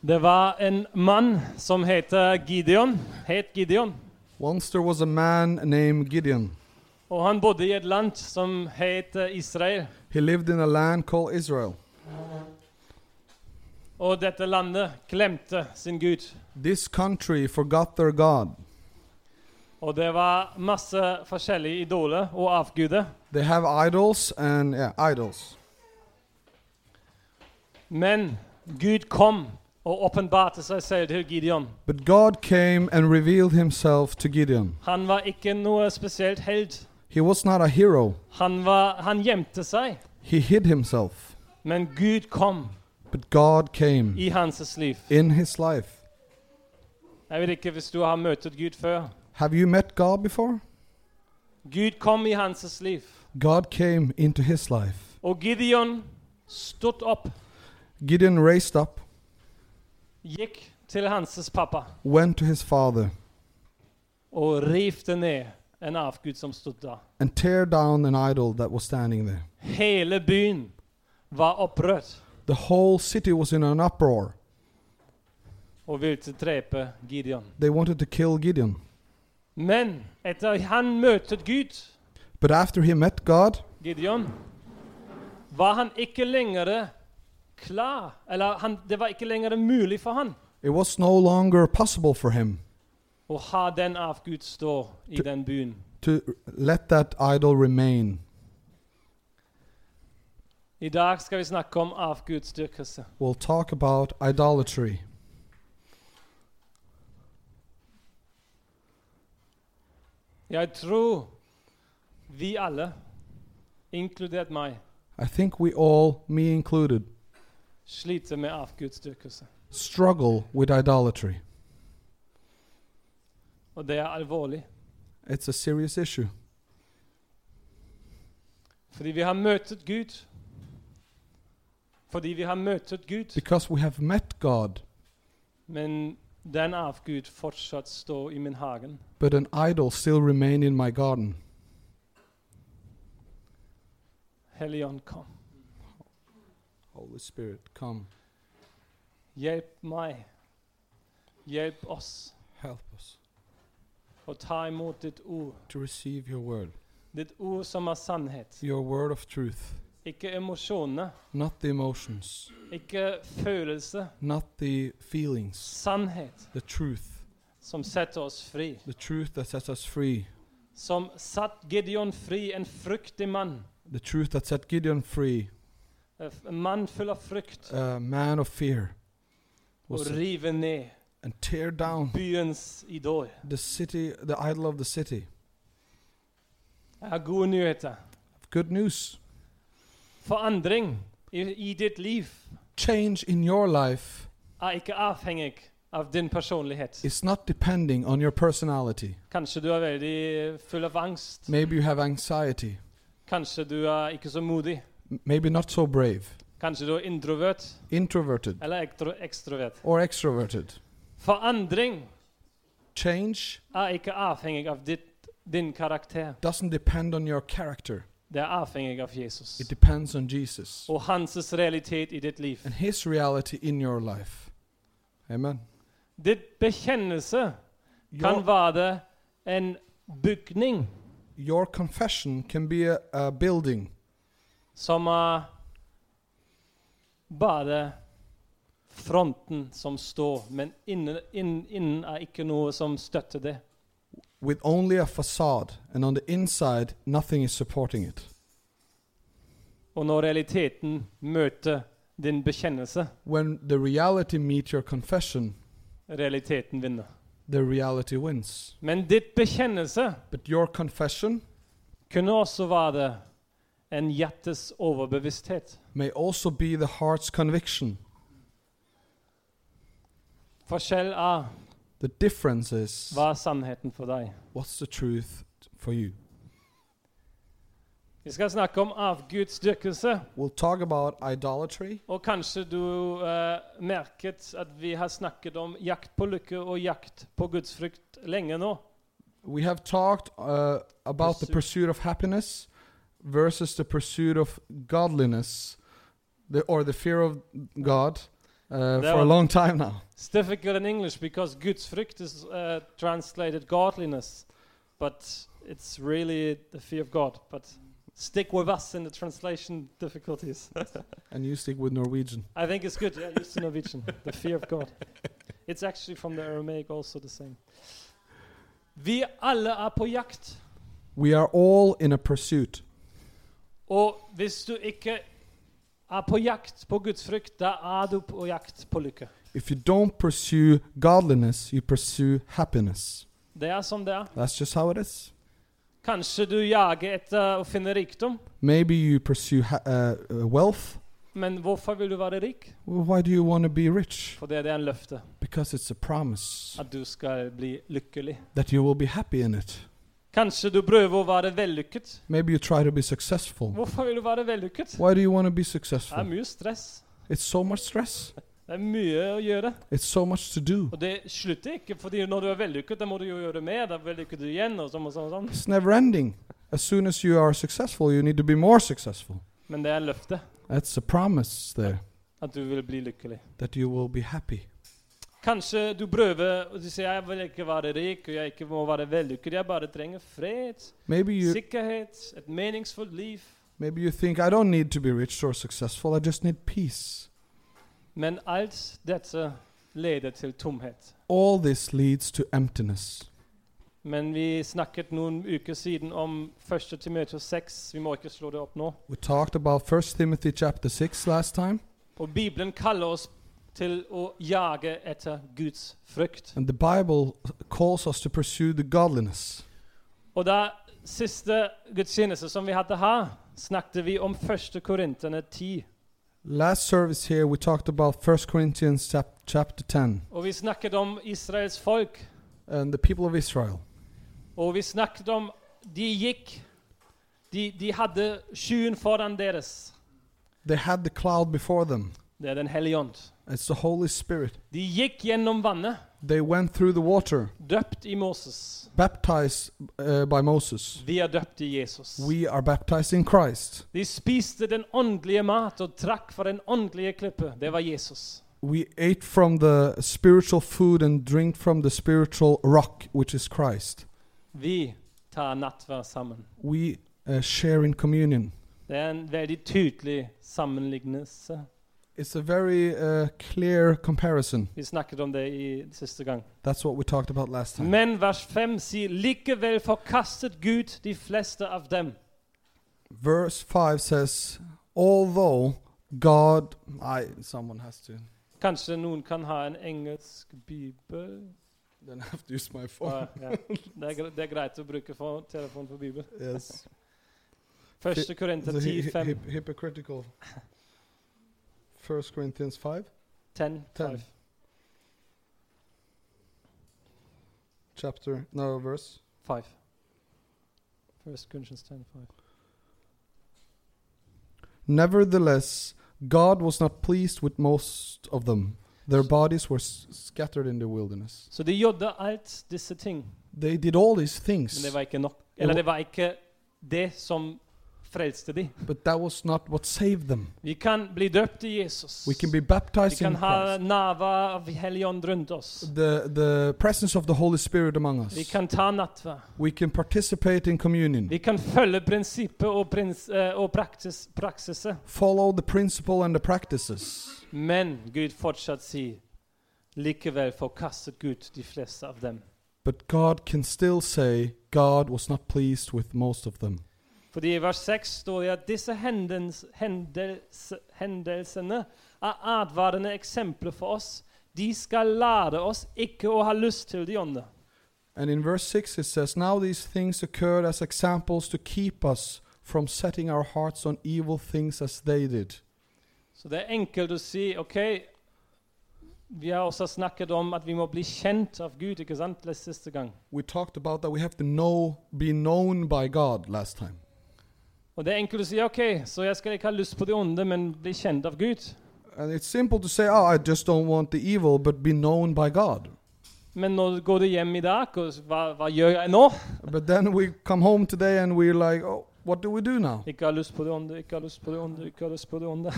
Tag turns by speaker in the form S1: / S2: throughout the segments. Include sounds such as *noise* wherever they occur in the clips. S1: Det var en mann som heter Gideon. Het Gideon.
S2: Once there was a man named Gideon.
S1: Og han bodde i et land som het eh, Israel.
S2: He lived in a land called Israel.
S1: Og dette landet glemte sin Gud.
S2: This country forgot their God.
S1: Og det var masse forskjellige idoler og avguder.
S2: They have idols and yeah, idols.
S1: Men Gud kom og åpenbarte seg selv til Gideon.
S2: But God came and revealed himself to Gideon.
S1: Han var ikke noe spesielt helt.
S2: He was not a hero.
S1: Han, var, han gjemte seg.
S2: He hid himself.
S1: Men Gud kom
S2: But God came
S1: i hans liv.
S2: in his life.
S1: Jeg vet ikke hvis du har møtt Gud før.
S2: Have you met God before?
S1: Gud kom i hans liv.
S2: God came into his life.
S1: Og Gideon stod opp,
S2: Gideon raised up,
S1: gikk til hans pappa
S2: went to his father,
S1: og rivte ned en avgud som stod der.
S2: and tear down an idol that was standing there.
S1: Hele byen var opprørt
S2: The whole city was in an uproar.
S1: og ville drepe Gideon.
S2: They wanted to kill Gideon.
S1: Men etter han møtte Gud,
S2: But after he met God,
S1: Gideon, var han ikke lenger klar, eller han, det var ikke lenger mulig for han
S2: it was no longer possible for him
S1: å ha den avgud stå i den byen.
S2: to let that idol remain.
S1: I dag skal vi snakke om avgudsdyrkelse.
S2: We'll talk about idolatry.
S1: Jeg tror vi alle, inkludert meg,
S2: I think we all, me included,
S1: sliter med avgudsdyrkelse.
S2: struggle with idolatry.
S1: Og det er alvorlig.
S2: It's a serious issue
S1: Fordi vi har møtt Gud. Fordi vi har møtt Gud,
S2: because we have met God,
S1: men den avgud fortsatt står i min hagen.
S2: but an idol still remain in my garden.
S1: Helligånd, kom.
S2: Holy Spirit, come,
S1: Hjelp meg. Hjelp oss
S2: help us
S1: å ta imot ditt ord.
S2: to receive your word,
S1: Ditt ord som er sannhet.
S2: your word of truth,
S1: Ikke emosjoner,
S2: not the emotions,
S1: ikke følelse.
S2: not the feelings,
S1: Sannhet
S2: the truth,
S1: som setter oss fri.
S2: the truth that sets us free,
S1: som satt Gideon fri, en fryktig mann.
S2: the truth that set Gideon free,
S1: Eh, f- En mann full av frykt.
S2: a man of fear,
S1: Og
S2: was it,
S1: rive ned
S2: and tear down
S1: byens idol.
S2: the city, the idol of the city.
S1: Jeg har gode nyheter.
S2: Good news.
S1: Forandring i, i ditt liv
S2: Change in your life
S1: er ikke avhengig av din personlighet.
S2: is not depending on your personality.
S1: Kanskje du er veldig full av angst.
S2: Maybe you have anxiety,
S1: Kanskje du er ikke så modig.
S2: m- maybe not so brave,
S1: Kanskje du er introvert
S2: introverted
S1: eller ekstro ekstrovert.
S2: or extroverted.
S1: Forandring
S2: Change
S1: er ikke avhengig av ditt, din karakter.
S2: doesn't depend on your character,
S1: Det er avhengig av Jesus
S2: it depends on Jesus
S1: og hans realitet i ditt liv.
S2: and His reality in your life. Amen.
S1: Ditt bekjennelse kan
S2: Your,
S1: være en bygning
S2: your confession can be a, a building
S1: som er bare fronten som står, men innen, innen, innen er ikke noe som støtter det.
S2: with only a facade, and on the inside, nothing is supporting it.
S1: Og når realiteten møter din bekjennelse,
S2: When the reality meets your confession,
S1: realiteten vinner.
S2: the reality wins.
S1: Men ditt bekjennelse
S2: But your confession
S1: kunne også være en hjertes overbevissthet.
S2: may also be the heart's conviction.
S1: Forskjell er
S2: The difference is
S1: hva er sannheten for deg.
S2: what's the truth for you?
S1: Vi skal snakke om avgudsdyrkelse.
S2: We'll talk about idolatry.
S1: Og kanskje du eh, merket at vi har snakket om jakt på lykke og jakt på gudsfrykt lenge nå.
S2: We have talked uh, about the
S1: Pursuit.
S2: pursuit of happiness versus the pursuit of godliness the, or the fear of God uh,
S1: That
S2: for a
S1: one.
S2: long time now.
S1: It's difficult in English because Guds fruit is uh, translated godliness, but it's really the fear of God. But stick with us in the translation difficulties.
S2: And you stick with Norwegian.
S1: I think it's good. Yeah, used to Norwegian. The fear of God. It's actually from the Aramaic also the same. Vi alle er på jakt.
S2: We are all in a pursuit.
S1: Og hvis du ikke er på jakt på Guds frykt, da er du på jakt på lykke.
S2: If you don't pursue godliness, you pursue happiness.
S1: Det er som det er.
S2: That's just how it is.
S1: Kanskje du jager etter å finne rikdom,
S2: Maybe you pursue ha- uh, uh, wealth.
S1: men hvorfor vil du være rik?
S2: Well, why do you want to be rich?
S1: For det er en løfte.
S2: Because it's a promise
S1: At du skal bli lykkelig.
S2: that you will be happy in it.
S1: Kanskje du prøver å være vellykket.
S2: Maybe you try to be successful.
S1: Hvorfor vil du være vellykket?
S2: Why do you want to be
S1: Det er
S2: successful?
S1: mye stress.
S2: It's so much stress.
S1: Det er mye å gjøre.
S2: It's so much to do.
S1: Og det slutter ikke, fordi når du er vellykket, da må du jo gjøre mer. Da vellykker du igjen, og sånn og sånn. og sånn.
S2: It's never ending. As soon as you are successful, you need to be more successful.
S1: Men det er en løfte
S2: That's a promise there
S1: at du vil bli lykkelig.
S2: that you will be happy.
S1: Kanskje du prøver og du sier jeg vil ikke være rik og jeg ikke må være vellykket. Jeg bare trenger fred,
S2: Maybe you
S1: sikkerhet, et meningsfullt liv.
S2: maybe you think I don't need to be rich or successful. I just need peace.
S1: Men alt dette leder til tomhet.
S2: All this leads to emptiness.
S1: Men vi snakket noen uker siden om 1. Timoteus 6. Vi må ikke slå det opp nå.
S2: We talked about 1 Timothy chapter 6 last time,
S1: Og Bibelen kaller oss til å jage etter Guds frykt.
S2: and the Bible calls us to pursue the godliness.
S1: Og da siste gudstjeneste som vi hadde her, snakket vi om 1. Korinterne 10.
S2: Last service here we talked about 1 Corinthians chap- chapter 10
S1: Og vi snakket om Israels folk.
S2: and the people of Israel.
S1: Og vi snakket om De gikk De, de hadde skyen foran deres.
S2: They had the cloud before them.
S1: Det er Den hellige ånd.
S2: It's the Holy Spirit.
S1: De gikk gjennom vannet,
S2: They went through the water,
S1: døpt i Moses.
S2: baptized uh, by Moses.
S1: Vi er døpt i Jesus.
S2: We are baptized in Christ.
S1: De spiste den åndelige mat og trakk fra den åndelige klippe. Det var Jesus.
S2: We ate from the spiritual food and drink from the spiritual rock, which is Christ.
S1: Vi tar nattverd sammen.
S2: We uh, share in communion.
S1: Det er en veldig tydelig sammenlignelse.
S2: It's a very uh, clear comparison.
S1: Vi snakket om det i siste gang.
S2: That's what we talked about last time.
S1: Men vers 5 sier likevel forkastet Gud de fleste av dem.
S2: Verse 5 says, Although God. I, someone has to.
S1: Kanskje noen kan ha en engelsk bibel?
S2: Then I have to use my phone.
S1: Ah, ja. det, er, gre- det er greit å bruke for, telefon for bibel.
S2: yes.
S1: Første
S2: It's
S1: Korinter
S2: a hy-
S1: 10,
S2: hy-
S1: 5,
S2: hy- *laughs* hypocritical. First Corinthians 5,
S1: 10, 5.
S2: 10. chapter, no, verse.
S1: 5. First Corinthians 10, 5.
S2: Nevertheless, God was not pleased with most of them. Their bodies were s- scattered in the wilderness.
S1: Så de gjorde alt disse ting,
S2: They did all these
S1: men
S2: things,
S1: det var ikke nok.
S2: Det
S1: Eller
S2: var-
S1: det var ikke det som frelste de.
S2: but that was not what saved them.
S1: Vi kan bli døpt i Jesus.
S2: We can be
S1: vi
S2: baptized
S1: kan
S2: in
S1: ha
S2: Christ.
S1: nava av Helligånd rundt oss.
S2: The, the presence of the Holy Spirit among
S1: Vi
S2: us.
S1: kan ta nattverd.
S2: We can participate in communion,
S1: Vi kan følge prinsippet og, prins, eh, og praksis, praksiset.
S2: follow the principle and the practices.
S1: Men Gud fortsatt sier likevel forkastet Gud de fleste av dem.
S2: But God can still say, God was not pleased with most of them.
S1: Fordi i vers 6 står det at disse hendens, hendels, hendelsene er advarende eksempler for oss. De skal lære oss ikke å ha lyst til de ånde.
S2: And in verse 6 it says, Now these things occurred as examples to keep us from setting our hearts on evil things as they did.
S1: Så det er enkelt å si OK, vi har også snakket om at vi må bli kjent av Gud, ikke sant? Les- Siste gang.
S2: We talked about that we have to know, be known by God last time.
S1: Og det er enkelt å si OK, så jeg skal ikke ha lyst på de onde, men bli kjent av Gud.
S2: And it's simple to say, Oh, I just don't want the evil, but be known by God.
S1: Men nå går du hjem i dag, og s- hva, hva gjør jeg nå?
S2: But then we come home today and we're like, Oh, What do we do now? *laughs*
S1: Ikke har lyst på det onde, ikke har lyst på det onde, ikke har lyst på det onde.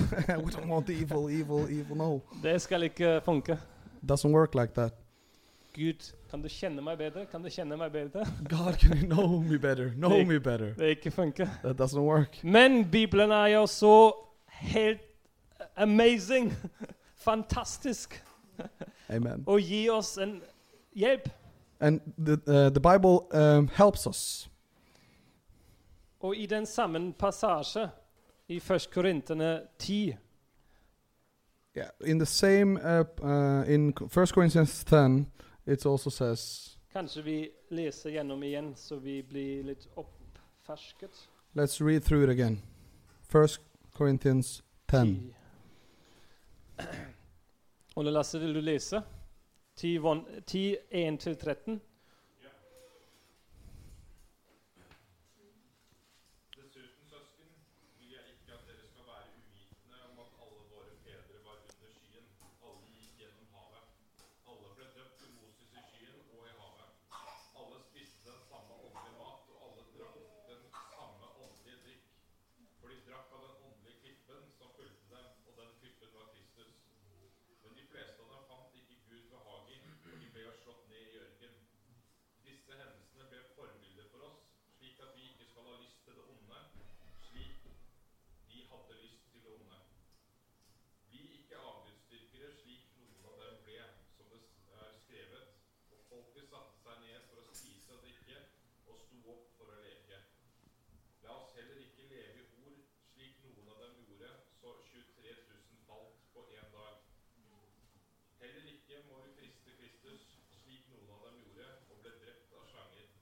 S2: we don't want evil, evil, evil. No,
S1: *laughs* Det skal ikke funke.
S2: doesn't work like that.
S1: Gud, kan du kjenne meg bedre? Kan du kjenne meg bedre?
S2: God, can *laughs* you know me better? Know me better.
S1: Det ikke funker.
S2: That doesn't work.
S1: Men Bibelen er jo så helt amazing, *laughs* fantastisk,
S2: Amen.
S1: og gi oss en hjelp.
S2: And the uh, the Bible um, helps us.
S1: Og i den samme passasje i 1. Korintene 10,
S2: Yeah. In the same uh, p- uh, in Co- First Corinthians ten, it also says,
S1: kanskje vi leser gjennom igjen så vi blir litt oppfersket.
S2: let's read through it again. First Corinthians ten.
S1: *clears throat* 10. Ole Lasse, vil du lese? 10, von- 10 1-13.
S3: Dessuten, søsken, vil jeg ikke at dere skal være uvitende om at alle våre fedre var under skyen. Alle gikk gjennom havet. Alle ble døpt til Moses i skyen og i havet. Alle spiste den samme åndelige mat, og alle drakk den samme åndelige drikk. For de drakk av den åndelige klippen som fulgte dem, og den klippen var Kristus. Men de fleste av dem fant ikke Gud behagelig, og de ble slått ned i ørkenen. Disse hendelsene ble forbilder for oss, slik at vi ikke skal ha lyst til det onde, slik de hadde lyst til det onde. Bli ikke avgudsdyrkere, slik noen av dem ble, som det er skrevet. Og folket satte seg ned for å spise og drikke, og sto opp for å leke. La oss heller ikke leve i ord, slik noen av dem gjorde, så 23 000 falt på én dag. Heller ikke må vi friste Kristus, slik noen av dem gjorde, og ble drept av slanger.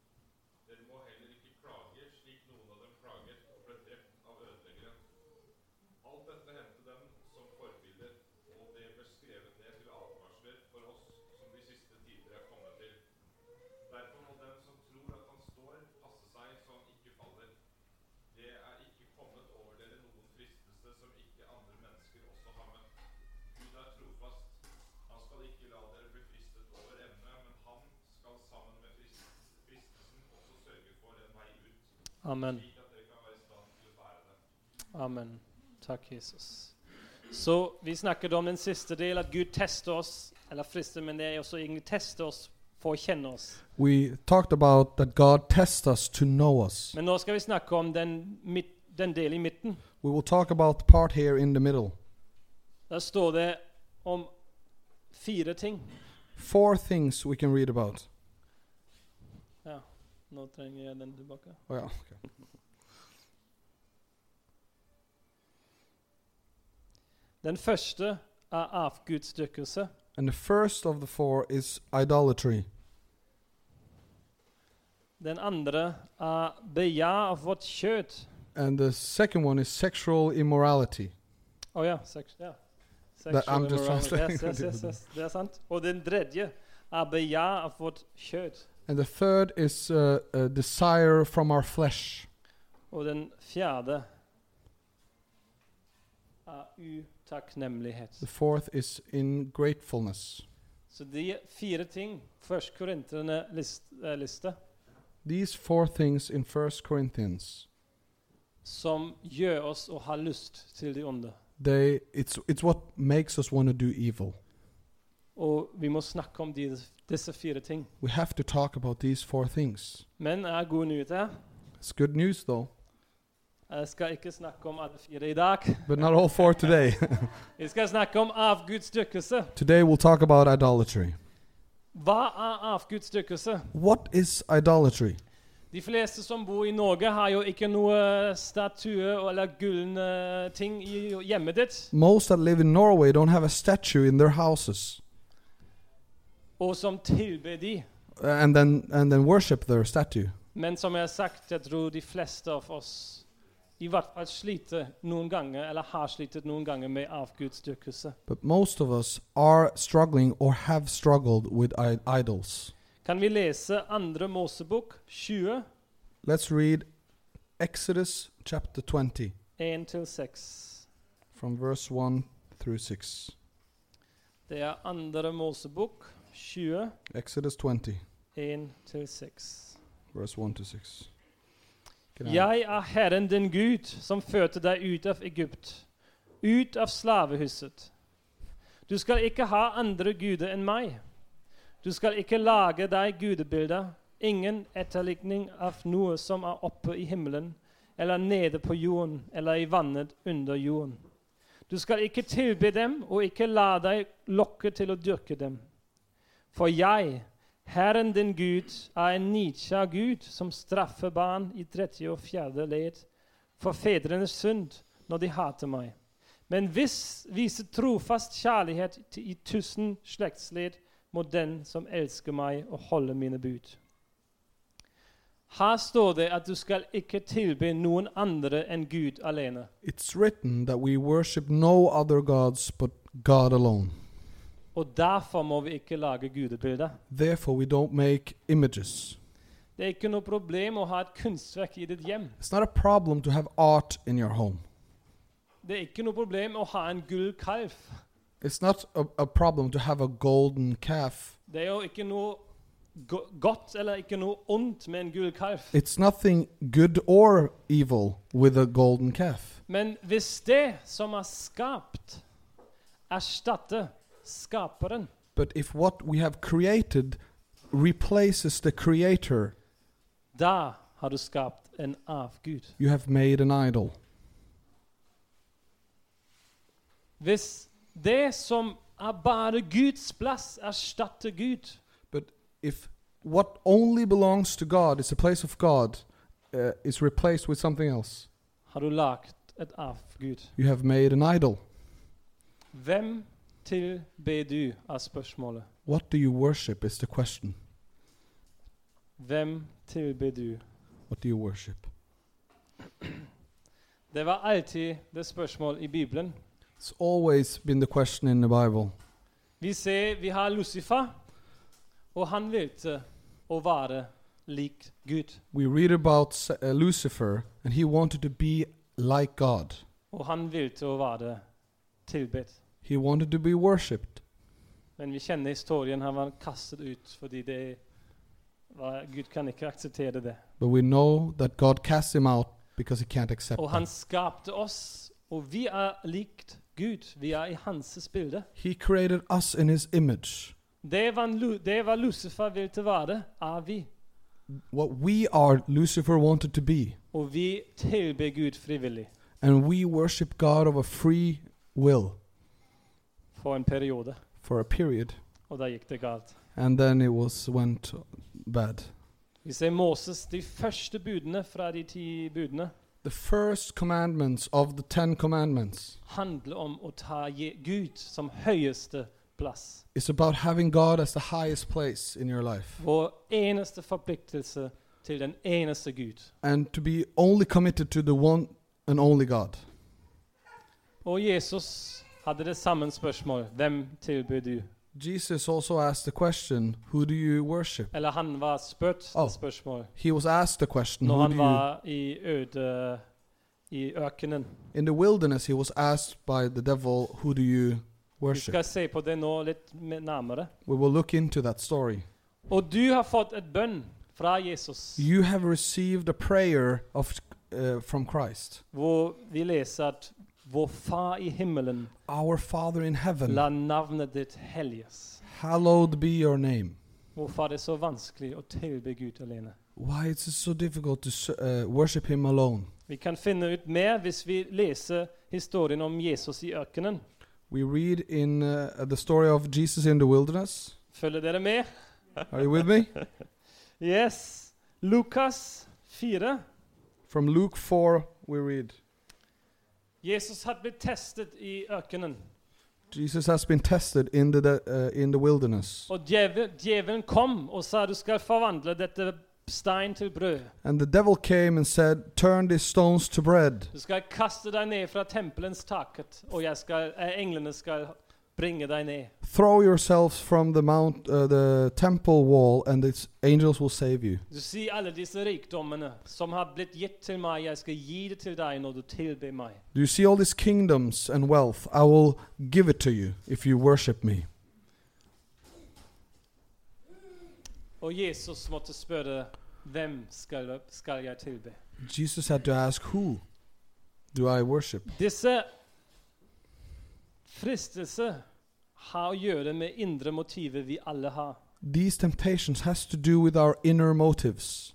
S3: Dere må heller ikke klage, slik noen av dem klaget, og ble drept av ødeleggeren. Alt dette hendte dem som forbilder, og det ble skrevet ned til advarsler for oss som de siste tider er kommet til. Derfor må den som tror at han står, passe seg så han ikke faller. Det er ikke kommet over dere noen fristelse som ikke andre mennesker også har møtt. Gud er trofast. Han skal ikke la dere bli fristet over evne, men han skal sammen med frist- fristelsen også sørge for en vei ut,
S1: Amen.
S3: slik at dere kan være i stand til å bære den.
S1: Amen. Takk, Jesus. Så vi snakket om den siste del, at Gud tester oss, eller frister, men det er også egentlig tester oss for å kjenne oss.
S2: We talked about that God tests us to know us.
S1: Men nå skal vi snakke om den, midt, den del i midten.
S2: We will talk about the part here in the middle.
S1: Der står det om fire ting.
S2: Four things we can read about.
S1: Ja, nå trenger jeg den tilbake.
S2: Oh, yeah. okay.
S1: Den første er avgudsdyrkelse.
S2: And the first of the four is idolatry.
S1: Den andre er begjær av vårt kjøtt.
S2: And the second one is sexual immorality.
S1: Å ja. Sex, ja.
S2: That I'm just
S1: immorality.
S2: translating
S1: Yes, yes, yes, yes, det er sant. Og den tredje er begjær av vårt kjøtt.
S2: And the third is uh, a desire from our flesh.
S1: Og den fjerde er utakknemlighet.
S2: The fourth is ingratefulness.
S1: Så de fire ting Først korinterne list, eh, liste
S2: These four things in First Corinthians,
S1: som gjør oss å ha lyst til de onde.
S2: they it's it's what makes us want to do evil.
S1: Og vi må snakke om de, disse fire ting.
S2: We have to talk about these four things.
S1: Men jeg har gode nyheter.
S2: It's good news though,
S1: Jeg skal ikke snakke om alle fire i dag.
S2: but not all four today. *laughs*
S1: Vi skal snakke om avgudsdyrkelse.
S2: today we'll talk about idolatry.
S1: Hva er avgudsdyrkelse?
S2: What is idolatry?
S1: De fleste som bor i Norge, har jo ikke noe statue eller gylne ting i hjemmet ditt.
S2: Most that live in Norway don't have a statue in their houses
S1: Og som tilber de.
S2: uh, and then and then worship their statue.
S1: Men som jeg har sagt, jeg tror de fleste av oss i hvert fall sliter noen ganger, eller har slitet noen ganger med avgudsdyrkelse.
S2: But most of us are struggling or have struggled with I- idols.
S1: Kan vi lese andre Mosebok 20,
S2: Let's read Exodus chapter 20
S1: 1-6.
S2: from verse 1 through 6.
S1: Det er andre Mosebok 20,
S2: Exodus 20,
S1: 1-6.
S2: verse 1 to 6. Greier.
S1: Jeg er Herren din Gud, som førte deg ut av Egypt, ut av slavehuset. Du skal ikke ha andre guder enn meg. Du skal ikke lage deg gudebilder, ingen etterlikning av noe som er oppe i himmelen, eller nede på jorden, eller i vannet under jorden. Du skal ikke tilbe dem, og ikke la deg lokke til å dyrke dem. For jeg, Herren din Gud er en nidkjær Gud som straffer barn i 34. ledd for fedrenes synd når de hater meg. Men hvis viser trofast kjærlighet til- i tusen slektsledd mot den som elsker meg og holder mine bud. Her står det at du skal ikke tilbe noen andre enn Gud alene.
S2: It's written that we worship no other gods but God alone.
S1: Og derfor må vi ikke lage gudebilder.
S2: Therefore, we don't make images.
S1: Det er ikke noe problem å ha et kunstverk i ditt hjem.
S2: It's not a problem to have art in your home.
S1: Det er ikke noe problem å ha en gull kalv.
S2: It's not a, a problem to have a golden calf.
S1: Det er jo ikke noe go godt eller ikke noe ondt med en gull kalv.
S2: It's nothing good or evil with a golden calf.
S1: Men hvis det som er skapt, erstatter skaperen,
S2: But if what we have created replaces the creator,
S1: da har du skapt en avgud.
S2: you have made an idol.
S1: Hvis det som er bare Guds plass, erstatter Gud,
S2: But if what only belongs to God is a place of God uh, is replaced with something else,
S1: har du lagt et avgud.
S2: you have made an idol.
S1: Hvem tilber du, er spørsmålet.
S2: What do you worship is the question.
S1: Hvem tilber du?
S2: What do you worship?
S1: Det var alltid det spørsmål i Bibelen.
S2: It's always been the question in the Bible.
S1: Vi ser vi har Lucifer, og han valgte å være lik Gud.
S2: We read about S- uh, Lucifer, and he wanted to be like God.
S1: Og han valgte å være tilbedt.
S2: He wanted to be worshipped.
S1: Men vi kjenner historien. Han var kastet ut fordi det var, Gud kan ikke akseptere det.
S2: But we know that God cast him out because he can't accept
S1: Og
S2: him.
S1: han skapte oss, og vi er likt Gud. Vi er i hans bilde.
S2: He created us in his image.
S1: Det var, en Lu- det var Lucifer ville være, er vi.
S2: What we are, Lucifer wanted to be.
S1: Og vi tilber Gud frivillig
S2: And we worship God of a free will
S1: for en periode.
S2: for a period.
S1: Og da gikk det galt.
S2: And then it was went bad.
S1: Vi ser Moses, de første budene fra de ti budene,
S2: The first commandments of the Ten Commandments
S1: handler om å ta Je- Gud som høyeste plass.
S2: is about having God as the highest place in your life
S1: Vår eneste forpliktelse til den eneste Gud.
S2: and to be only committed to the one and only God.
S1: Og Jesus hadde det samme spørsmål. Hvem tilbyr du?
S2: Jesus also asked the question, Who do you worship?
S1: Eller han var spurt
S2: Oh.
S1: det spørsmål
S2: He was asked the question,
S1: når
S2: Who do
S1: han
S2: you?
S1: var i øde i økenen.
S2: In the wilderness, he was asked by the devil, Who do you
S1: Vi
S2: worship?
S1: skal se på det nå litt mer nærmere.
S2: We will look into that story.
S1: Og du har fått et bønn fra Jesus.
S2: You have received a prayer of uh, from Christ.
S1: hvor vi leser at vår Far i himmelen,
S2: Our Father in heaven,
S1: la navnet ditt helliges.
S2: hallowed be your name.
S1: Hvorfor er det så vanskelig å tilbe Gud alene?
S2: Why is it so difficult to s- uh, worship him alone?
S1: Vi kan finne ut mer hvis vi leser historien om Jesus i ørkenen.
S2: We read in uh, the story of Jesus in the
S1: *laughs*
S2: wilderness.
S1: Følger dere med?
S2: Are you with me?
S1: Yes. Lukas 4.
S2: From Luke 4, we read
S1: Jesus hadde blitt testet i ørkenen,
S2: Jesus has been tested in the, de- uh, in the wilderness.
S1: og djevel- djevelen kom og sa du skal forvandle dette stein til brød.
S2: And the devil came and said, Turn these stones to bread.
S1: Du skal kaste deg ned fra tempelens taket, og jeg skal, eh, englene skal bringe deg ned.
S2: Throw yourselves from the, mount, uh, the temple wall, and the angels will save you.
S1: Du sier alle disse rikdommene som har blitt gitt til meg, jeg skal gi det til deg når du tilber meg.
S2: Do you see all these kingdoms and wealth? I will give it to you if you worship me.
S1: Og Jesus måtte spørre hvem skal, skal jeg tilbe?
S2: Jesus had to ask, Who do I worship?
S1: Disse fristelse har å gjøre med indre motiver vi alle har.
S2: These temptations has to do with our inner motives,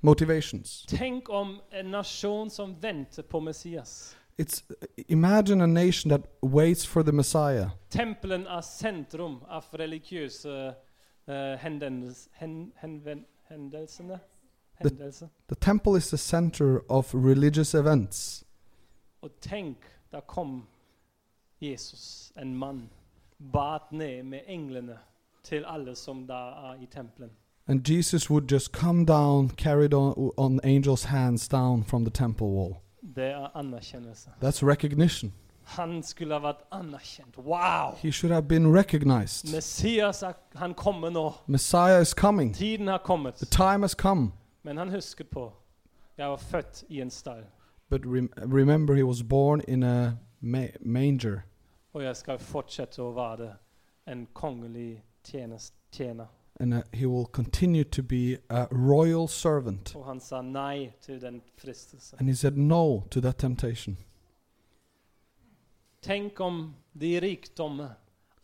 S2: motivations.
S1: Tenk om en nasjon som venter på Messias.
S2: It's imagine a nation that waits for the Messiah.
S1: Tempelen er sentrum av religiøse eh, henvendels- hen, henven, hendelsene. Hendelser.
S2: The temple is the center of religious events.
S1: Og tenk, der kom Jesus, en mann, bat ned med englene til alle som der er i tempelen.
S2: And Jesus would just come down, carried on, on angels' hands down from the temple wall.
S1: Det er anerkjennelse.
S2: That's recognition.
S1: Han skulle ha vært anerkjent. Wow!
S2: He should have been recognized.
S1: Messias, er- han kommer nå.
S2: Messiah is coming.
S1: Tiden har kommet.
S2: The time has come.
S1: Men han husket på jeg var født i en stall,
S2: But rem- remember, he was born in a ma- manger,
S1: og jeg skal fortsette å være en kongelig tjenest, tjener.
S2: and uh, he will continue to be a royal servant.
S1: Og han sa nei til den fristelsen.
S2: And he said no to that temptation.
S1: Tenk om de rikdommer,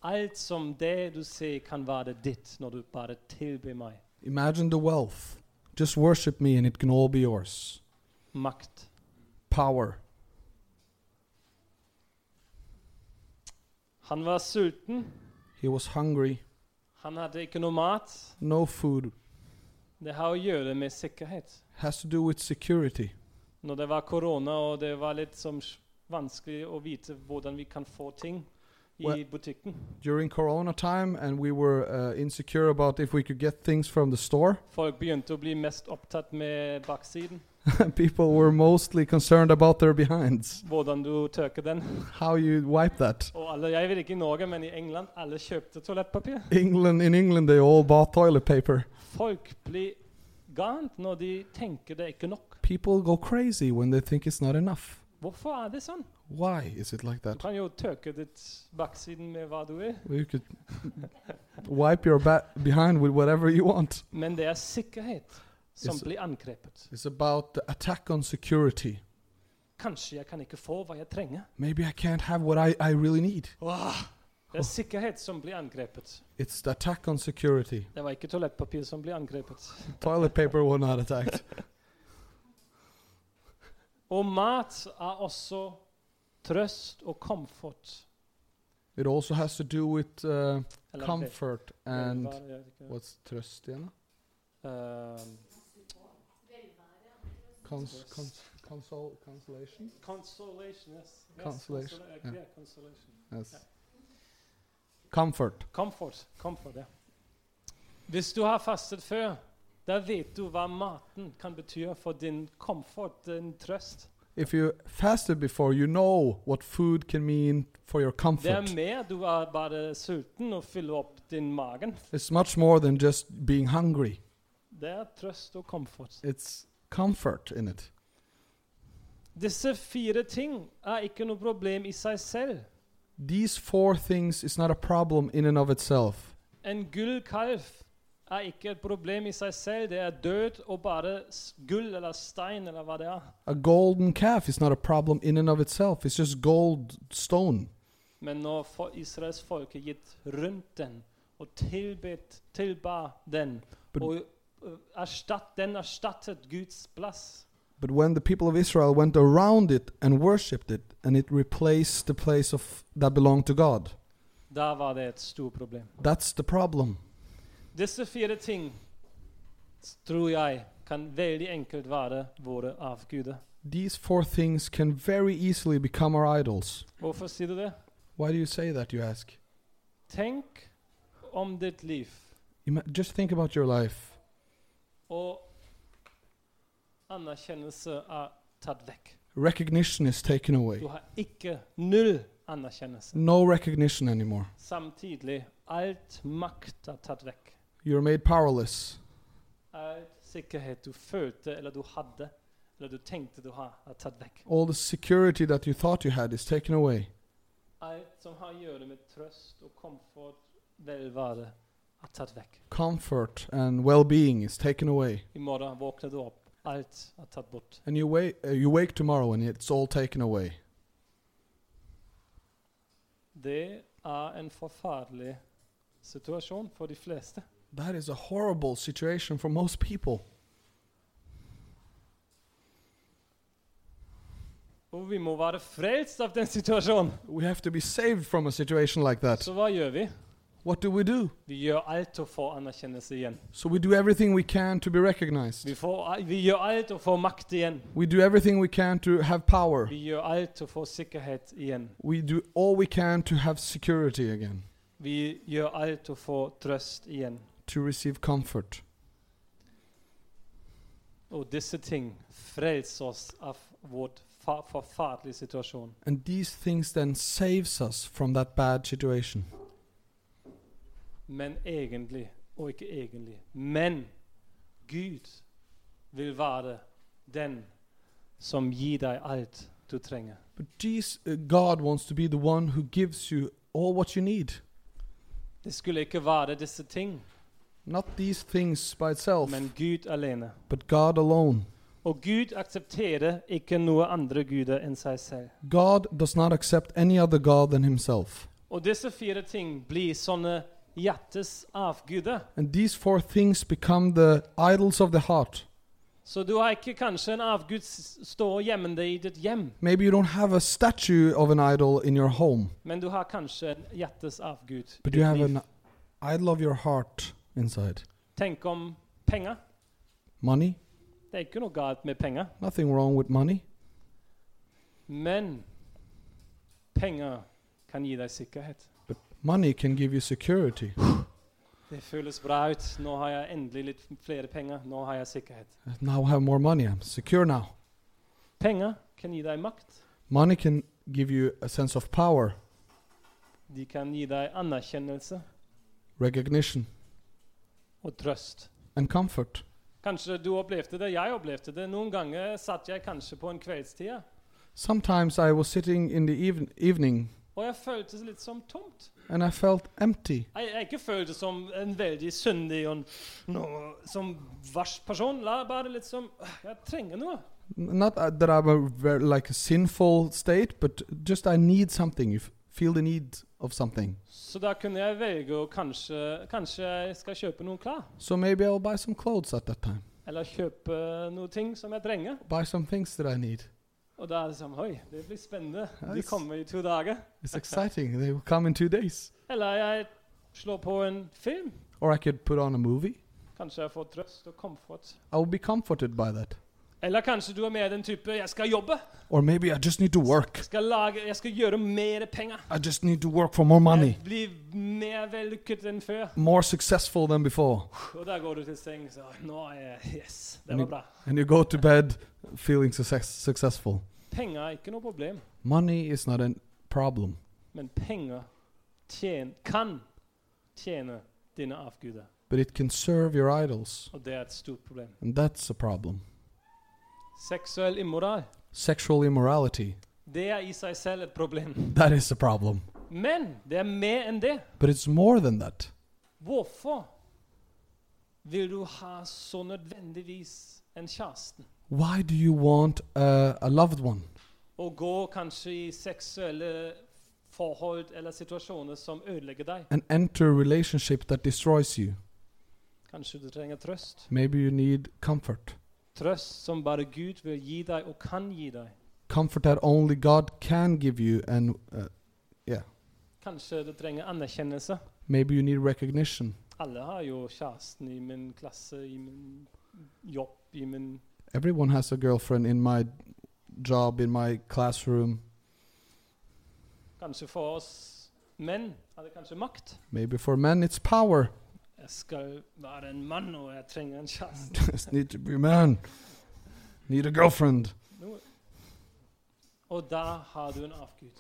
S1: alt som det du ser, kan være ditt når du bare tilbyr meg
S2: Imagine the wealth. Just worship me, and it can all be yours.
S1: makt.
S2: Power.
S1: Han var sulten,
S2: He was hungry.
S1: han hadde ikke noe mat.
S2: No food.
S1: Det har å gjøre med sikkerhet.
S2: Has to do with security.
S1: Når det var korona og det var litt som s- vanskelig å vite hvordan vi kan få ting i
S2: Well-
S1: butikken.
S2: During Corona time, and we were uh, insecure about if we could get things from the store. *laughs*
S1: Folk begynte å bli mest opptatt med baksiden.
S2: People were mostly concerned about their behinds.
S1: Hvordan du tørker den.
S2: How you wipe that?
S1: Og alle, jeg vet ikke i Norge, men i England, alle kjøpte toalettpapir.
S2: England in England, they all bought toilet paper.
S1: Folk blir gant når de tenker det er ikke nok.
S2: People go crazy when they think it's not enough.
S1: Hvorfor er det sånn?
S2: Why is it like
S1: Du
S2: that?
S1: kan jo tørke ditt baksiden med hva du vil.
S2: You could wipe your ba- behind with whatever you want.
S1: Men det er sikkerhet som
S2: Yes.
S1: blir angrepet.
S2: It's about the attack on security.
S1: Kanskje jeg kan ikke få hva jeg trenger.
S2: Maybe I can't have what I, I really need.
S1: Det er sikkerhet som blir angrepet.
S2: It's the attack on security.
S1: Det var ikke toalettpapir som ble angrepet.
S2: Toilet paper was not attacked.
S1: Og mat er også trøst og comfort.
S2: It also has to do with uh,
S1: Eller
S2: comfort
S1: det- eller
S2: and
S1: hva- jeg vet ikke.
S2: what's trust, Diana?
S1: Ehm,
S2: Cons- cons- console, consolation?
S1: consolation, yes. Yes,
S2: Consolation,
S1: consola-
S2: ja.
S1: yeah, consolation.
S2: Yes. Comfort.
S1: Comfort. comfort ja. Hvis du har fastet før, da vet du hva maten kan bety for din comfort, din trøst.
S2: If you fasted before, you know what food can mean for your
S1: Det er
S2: comfort.
S1: mer du er bare sulten og fyller opp din magen.
S2: It's much more than just being hungry.
S1: Det er trøst og comfort.
S2: It's comfort in it.
S1: Disse fire ting er ikke noe problem i seg selv.
S2: These four things is not a problem in and of itself.
S1: En gull kalv er ikke et problem i seg selv. Det er død og bare s- gull eller stein eller hva det er.
S2: A golden calf is not a problem in and of itself. It's just gold stone.
S1: Men når for Israels folk er gitt rundt den og tilbedt, tilba den
S2: But-
S1: og øh, erstatt, Den erstattet Guds plass.
S2: But when the people of Israel went around it and worshipped it, and it replaced the place of that belonged to God,
S1: Da var det et stort problem.
S2: that's the problem.
S1: Disse fire ting s- tror jeg kan veldig enkelt være våre avguder.
S2: These four things can very easily become our idols.
S1: Hvorfor sier du det?
S2: Why do you say that, you ask?
S1: Tenk om ditt liv.
S2: Ima- just think about your life.
S1: Og anerkjennelse er tatt vekk.
S2: Recognition is taken
S1: Du
S2: away.
S1: har ikke null anerkjennelse.
S2: No recognition anymore.
S1: Samtidig alt makt er tatt vekk.
S2: You're made powerless.
S1: All sikkerhet du følte eller du hadde eller du tenkte du har, er tatt vekk.
S2: All the security that you thought you had is taken away.
S1: Alt som har å gjøre med trøst og komfort, velvære, er tatt vekk.
S2: Comfort and well being is taken away.
S1: I morgen våkner du opp, Alt er tatt bort.
S2: And you, wa- uh, you wake tomorrow and it's all taken away.
S1: Det er en forferdelig situasjon for de fleste.
S2: That is a horrible situation for most people.
S1: Og vi må være frelst av den situasjonen.
S2: We have to be saved from a situation like that.
S1: Så hva gjør vi?
S2: What do we do?
S1: Vi gjør alt å få anerkjennelse igjen.
S2: So we do everything we can to be recognized.
S1: Vi, får, vi gjør alt å få makt igjen.
S2: We do everything we can to have power.
S1: Vi gjør alt å få sikkerhet igjen.
S2: We do all we can to have security again,
S1: Vi gjør alt å få trøst igjen.
S2: to receive comfort.
S1: Og disse ting frelser oss av vår fa forferdelige situasjon.
S2: And these things then saves us from that bad situation.
S1: Men egentlig, og ikke egentlig, men Gud vil være den som gir deg alt du trenger.
S2: But Jesus, uh, God wants to be the one who gives you all what you need,
S1: Det skulle ikke være disse ting,
S2: not these things by itself,
S1: men Gud alene.
S2: but God alone.
S1: Og Gud aksepterer ikke noe andre guder enn seg selv.
S2: God does not accept any other God than Himself.
S1: Og disse fire ting blir sånne hjertes avguder.
S2: And these four things become the idols of the heart.
S1: Så du har ikke kanskje en avgud s- stå og gjemme deg i ditt hjem,
S2: Maybe you don't have a statue of an idol in your home,
S1: men du har kanskje en hjertes avgud i
S2: but you have
S1: ditt liv.
S2: an idol of your heart inside.
S1: Tenk om penger.
S2: Money,
S1: Det er ikke noe galt med penger,
S2: nothing wrong with money,
S1: men penger kan gi deg sikkerhet.
S2: but money can give you security.
S1: Det føles bra ut. Nå har jeg endelig litt flere penger. Nå har jeg sikkerhet.
S2: Now I have more money, I'm secure now.
S1: Penger kan gi deg makt.
S2: Money can give you a sense of power,
S1: De kan gi deg anerkjennelse
S2: recognition,
S1: og trøst.
S2: and comfort.
S1: Kanskje du opplevde det, jeg opplevde det. Noen ganger satt jeg kanskje på en kveldstid,
S2: Sometimes I was sitting in the even- evening
S1: og jeg følte det litt som tomt.
S2: and I felt empty.
S1: Jeg, jeg ikke følte som en veldig syndig og en, noe, som vars person. La bare litt som «Åh, Jeg trenger noe.
S2: N- Not uh, that I'm a ver- like a sinful state, but just I need something. You f- feel the need of something.
S1: Så da kunne jeg velge å kanskje Kanskje jeg skal kjøpe noen klær.
S2: So maybe I'll buy some clothes at that time.
S1: Eller kjøpe noen ting som jeg trenger.
S2: Buy some things that I need.
S1: Og da er det sånn Oi, det blir spennende. De
S2: Nice.
S1: kommer i to dager.
S2: It's exciting. *laughs* they will come in two days.
S1: Eller jeg slår på en film.
S2: Or I could put on a movie.
S1: Kanskje jeg får trøst og komfort.
S2: I will be comforted by that.
S1: Eller kanskje du er mer den type 'jeg skal jobbe'.
S2: Or maybe I just need to work.
S1: Jeg skal, lage, jeg skal gjøre mer penger.
S2: I just need to work for more money.
S1: Jeg blir mer vellykket enn før.
S2: More successful than before.
S1: Og der går du til sengs og Nå er jeg Yes, det
S2: Men-
S1: var bra.
S2: And you go to bed feeling success- successful.
S1: Penger er ikke noe problem,
S2: Money is not a problem,
S1: men penger tjen, kan tjene dine avguder.
S2: but it can serve your idols.
S1: Og det er et stort problem.
S2: And that's a problem.
S1: Seksuell immoral,
S2: Sexual immorality,
S1: det er i seg selv et problem.
S2: that is a problem.
S1: Men det er mer enn det.
S2: But it's more than that.
S1: Hvorfor vil du ha så nødvendigvis en kjæreste?
S2: Why do you want uh, a loved one?
S1: Og gå kanskje i seksuelle forhold eller situasjoner som ødelegger deg.
S2: And enter a relationship that destroys you.
S1: Kanskje du trenger trøst.
S2: Maybe you need comfort.
S1: Trøst som bare Gud vil gi deg og kan gi deg.
S2: Comfort that only God can give you. And uh,
S1: Kanskje du trenger anerkjennelse.
S2: maybe you need recognition.
S1: Alle har jo kjæresten i min klasse, i min jobb, i min
S2: Everyone has a girlfriend in my job, in my classroom.
S1: Kanskje for oss menn er det kanskje makt.
S2: Maybe for men it's power. *laughs*
S1: Jeg skal være en mann, og jeg trenger en kjæreste.
S2: Just need to be a man. Need a girlfriend.
S1: Nå- Og da har du en avgud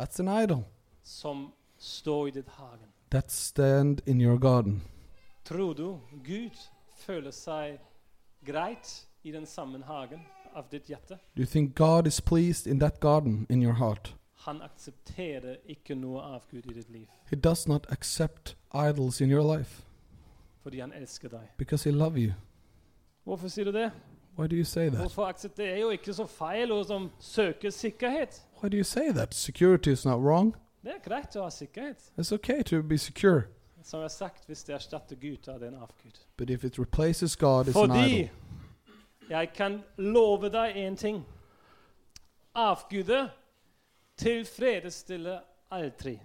S2: That's an idol.
S1: som står i ditt hagen.
S2: That stand in your garden.
S1: Tror du Gud føler seg greit i den samme hagen av ditt hjerte?
S2: Do you think God is pleased in that garden in your heart?
S1: Han aksepterer ikke noe avgud i ditt liv,
S2: He does not accept idols in your life
S1: fordi han elsker deg.
S2: because he loves you.
S1: Hvorfor sier du det?
S2: Why do you say that?
S1: Hvorfor aksepterer jo ikke så feil og som søker sikkerhet?
S2: Why do you say that? Security is not wrong.
S1: Det er greit å ha sikkerhet.
S2: It's okay to be secure.
S1: Som jeg har sagt, hvis det erstatter Gud, da er det en avgud.
S2: But if it replaces God, it's an
S1: Fordi
S2: idol.
S1: jeg kan love deg én ting. Avguder tilfredsstiller aldri.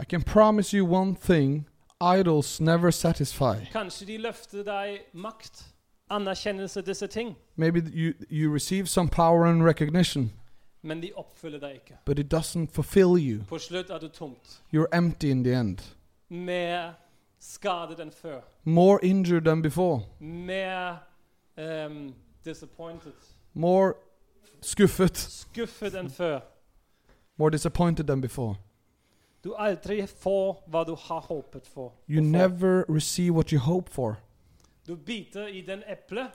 S2: I can promise you one thing idols never satisfy.
S1: Kanskje de løfter deg makt, anerkjennelse, disse ting,
S2: Maybe th- you, you receive some power and recognition,
S1: men de oppfyller deg ikke.
S2: but it doesn't fulfill you.
S1: På slutt er du tomt.
S2: You're empty in the end.
S1: Mer skadet enn før.
S2: More injured than before.
S1: Mer ehm, disappointed.
S2: More skuffet.
S1: Skuffet enn før.
S2: More disappointed than before.
S1: Du aldri får hva du har håpet for.
S2: You
S1: å få.
S2: never receive what you hope for.
S1: Du biter i den eplet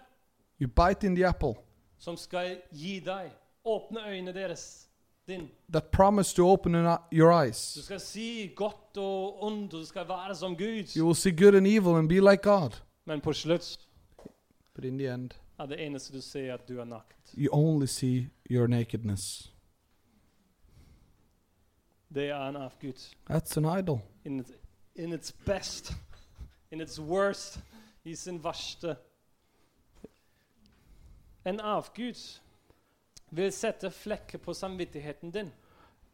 S2: You bite in the apple.
S1: som skal gi deg. Åpne øynene deres. Din.
S2: That promise to open an eye- your
S1: Du
S2: eyes.
S1: skal si godt og ondt, og du skal være som Gud.
S2: You will see good and evil and be like God.
S1: Men på slutt
S2: But in the end,
S1: er det eneste du ser, at du er naken.
S2: you only see your nakedness.
S1: Det er en avgud.
S2: That's an idol.
S1: In, its- in its best, in its worst, i sin verste. En avgud vil sette flekker på samvittigheten din.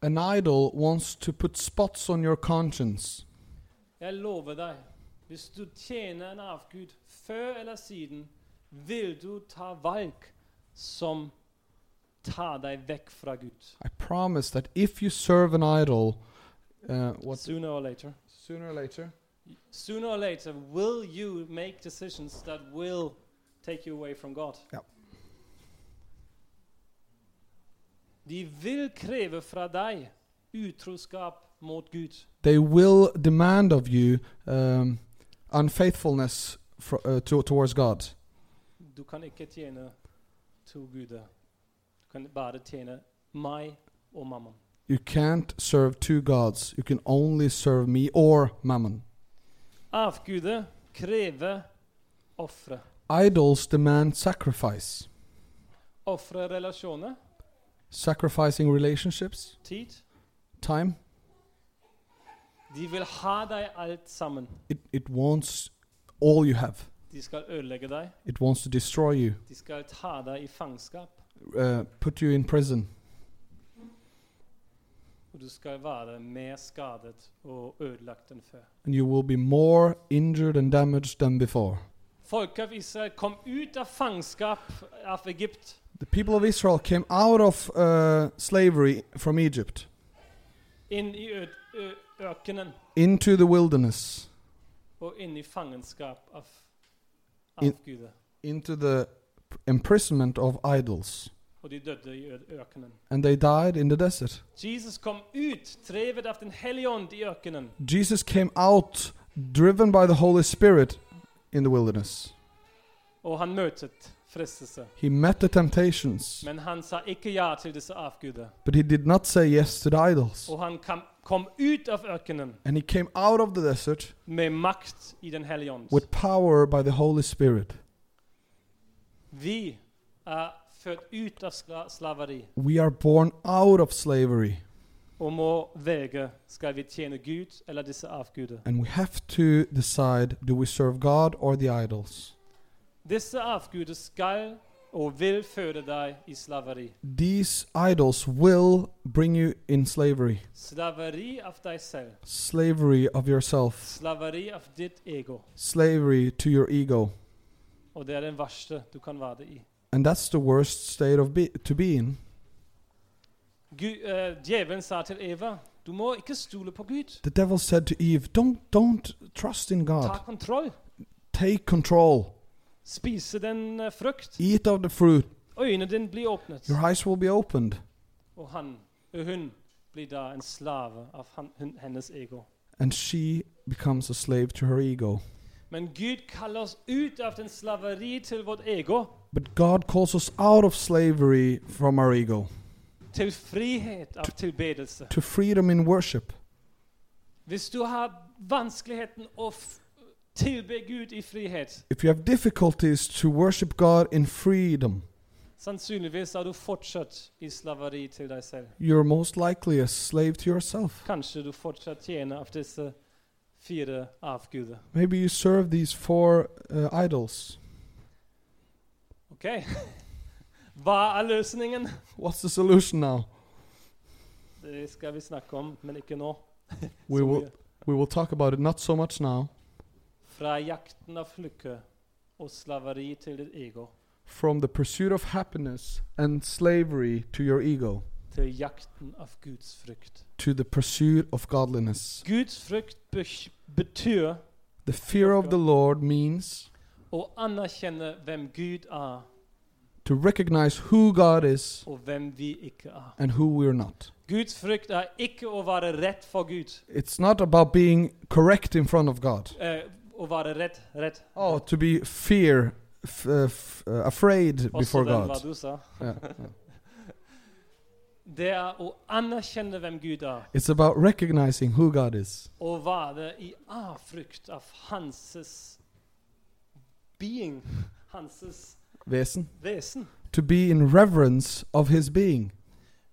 S2: An idol wants to put spots on your conscience.
S1: Jeg lover deg, hvis du tjener en avgud før eller siden, vil du ta valg som tar deg vekk fra Gud.
S2: I promise that if you serve an idol, uh, what
S1: Sooner or later.
S2: sooner or later,
S1: Sooner or later will you make decisions that will take you away from God.
S2: Ja.
S1: De vil kreve fra deg utroskap mot Gud.
S2: they will demand of you um, unfaithfulness fro uh, to, towards God.
S1: Du kan ikke tjene to guder. Du kan bare tjene meg og mammaen.
S2: You can't serve two gods. You can only serve me or mammon.
S1: Avguder krever ofre.
S2: Idols demand sacrifice,
S1: Ofre relasjoner,
S2: sacrificing relationships,
S1: tid.
S2: time.
S1: De vil ha deg alt sammen.
S2: It, it wants all you have.
S1: De skal ødelegge deg.
S2: It wants to destroy you,
S1: De skal ta deg i fangenskap.
S2: uh, put you in prison.
S1: Og du skal være mer skadet og ødelagt enn før.
S2: and you will be more injured and damaged than before.
S1: Folket av Israel kom ut av fangenskap av Egypt.
S2: The people of Israel came out of uh, slavery from Egypt
S1: Inn i ød- ø- økenen
S2: into the wilderness,
S1: og inn i fangenskap av
S2: In-
S1: avguder.
S2: into the imprisonment of idols,
S1: Og de døde i ød- økenen.
S2: and they died in the desert.
S1: Jesus kom ut, drevet av Den hellige ånd i økenen.
S2: Jesus came out driven by the Holy Spirit in the wilderness.
S1: Og han møtte fristelse.
S2: He met the temptations,
S1: Men han sa ikke ja til disse avguder.
S2: but he did not say yes to the idols.
S1: Og han kam, kom ut av økenen
S2: And he came out of the desert
S1: med makt i Den hellige ånd.
S2: with power by the Holy Spirit.
S1: Vi er født ut av sla slaveri
S2: We are born out of slavery.
S1: og må velge skal vi tjene Gud eller disse avguder.
S2: And we have to decide do we serve God or the idols?
S1: Disse avguder skal og vil føre deg i slaveri.
S2: These idols will bring you in slavery,
S1: Slaveri av deg selv.
S2: slavery of yourself,
S1: Slaveri av ditt ego.
S2: slavery to your ego.
S1: Og det er den verste du kan være i.
S2: And that's the worst state of be- to be in.
S1: Gu- eh, djevelen sa til Eva, du må ikke stole på Gud.
S2: The devil said to Eve, "Don't don't trust in
S1: Ta
S2: God.
S1: kontroll.
S2: Take control.
S1: spise den eh, frukt.
S2: Eat of the fruit.
S1: Øynene dine blir åpnet,
S2: Your eyes will be opened."
S1: og han og hun blir da en slave av han, hun, hennes ego.
S2: And she becomes a slave to her ego.
S1: Men Gud kaller oss ut av den slaveri til vårt ego
S2: But God calls us out of slavery from our ego
S1: til frihet av tilbedelse.
S2: to freedom in worship.
S1: Hvis du har vanskeligheten å f tilbe Gud i frihet.
S2: If you have difficulties to worship God in freedom,
S1: Sannsynligvis er du fortsatt i slaveri til deg selv.
S2: you're most likely a slave to yourself.
S1: Kanskje du fortsatt tjener av disse fire avguder.
S2: Maybe you serve these four uh, idols.
S1: Ok? *laughs* Hva er løsningen?
S2: What's the solution now?
S1: Det skal vi snakke om, men ikke nå.
S2: We
S1: Så
S2: will,
S1: mye.
S2: we will talk about it not so much now.
S1: Fra jakten av lykke og slaveri til ditt ego,
S2: From the pursuit of happiness and slavery to your ego,
S1: til jakten av Guds frykt.
S2: to the pursuit of godliness.
S1: Guds frykt bes- betyr
S2: The fear of the Lord means
S1: å anerkjenne hvem Gud er,
S2: to recognize who God is
S1: og hvem vi ikke er.
S2: and who we're not.
S1: Guds frykt er ikke å være rett for Gud.
S2: It's not about being correct in front of God.
S1: Eh, å være rett, rett.
S2: Oh, to be fear, f- uh, f- uh, afraid
S1: Også
S2: before
S1: den hva
S2: God.
S1: du sa.
S2: Yeah.
S1: Det er å anerkjenne hvem Gud er,
S2: It's about recognizing who God is
S1: og være i avfrykt av Hanses being, Hanses
S2: vesen.
S1: vesen.
S2: To be in reverence of His being.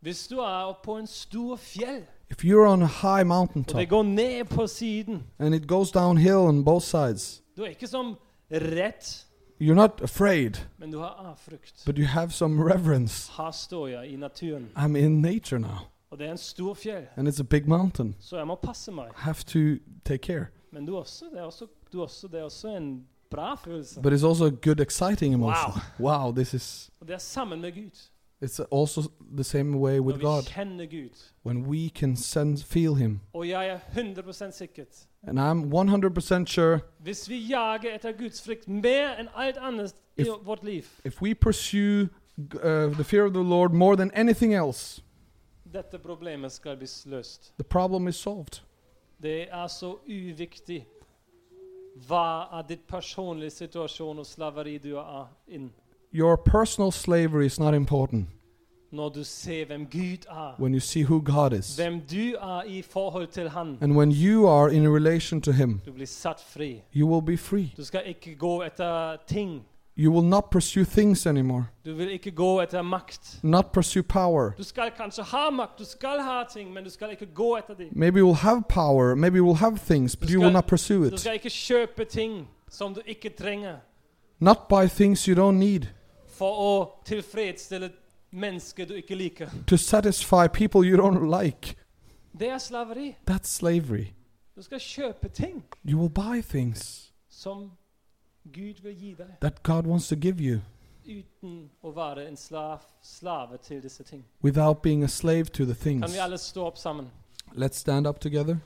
S1: Hvis du er på en stor fjell,
S2: If you're on a
S1: og
S2: high
S1: det
S2: mountaintop
S1: går ned på siden
S2: and it goes downhill on both sides,
S1: Du er ikke som rett,
S2: you're not afraid,
S1: men du har avfrykt.
S2: but you have some reverence.
S1: Her står jeg i naturen,
S2: I'm in nature now,
S1: og det er en stor fjell,
S2: and it's a big mountain.
S1: så jeg må passe meg.
S2: I have to take care.
S1: Men du også, det er også, du også, det er også en bra følelse.
S2: But it's also a good, exciting emotion.
S1: Wow.
S2: Wow, this is.
S1: Og det er sammen med Gud.
S2: It's also the same way with
S1: Når vi
S2: God.
S1: kjenner Gud.
S2: When we can sense, feel Him.
S1: Og jeg er 100 sikkert.
S2: And I'm 100% sure
S1: Hvis vi jager etter Guds frykt mer enn alt annet i
S2: If-
S1: vårt liv
S2: if we pursue uh, the fear of the Lord more than anything else,
S1: Dette problemet skal bli løst.
S2: the problem is solved.
S1: Det er så uviktig hva er ditt personlige situasjon og slaveri du er inn.
S2: Your personal slavery is not important
S1: Når du ser hvem Gud er,
S2: when you see who God is.
S1: hvem du er i forhold til Han,
S2: And when you are in relation to Him,
S1: du blir satt fri.
S2: you will be free.
S1: Du skal ikke gå etter ting.
S2: You will not pursue things anymore,
S1: Du vil ikke gå etter makt.
S2: not pursue power.
S1: Du skal kanskje ha makt, du skal ha ting, men du skal ikke gå etter dem.
S2: Maybe you will have power, maybe you will have things, but you will not pursue
S1: Du
S2: it.
S1: skal ikke kjøpe ting som du ikke trenger,
S2: Not buy things you don't need
S1: for å tilfredsstille mennesker du ikke liker.
S2: to satisfy people you don't like.
S1: Det er slaveri.
S2: That's slavery.
S1: Du skal kjøpe ting
S2: You will buy things
S1: som Gud vil gi deg,
S2: that God wants to give you
S1: uten å være en slav, slave til disse ting.
S2: without being a slave to the
S1: Kan
S2: things.
S1: vi alle stå opp sammen?
S2: Let's stand up together.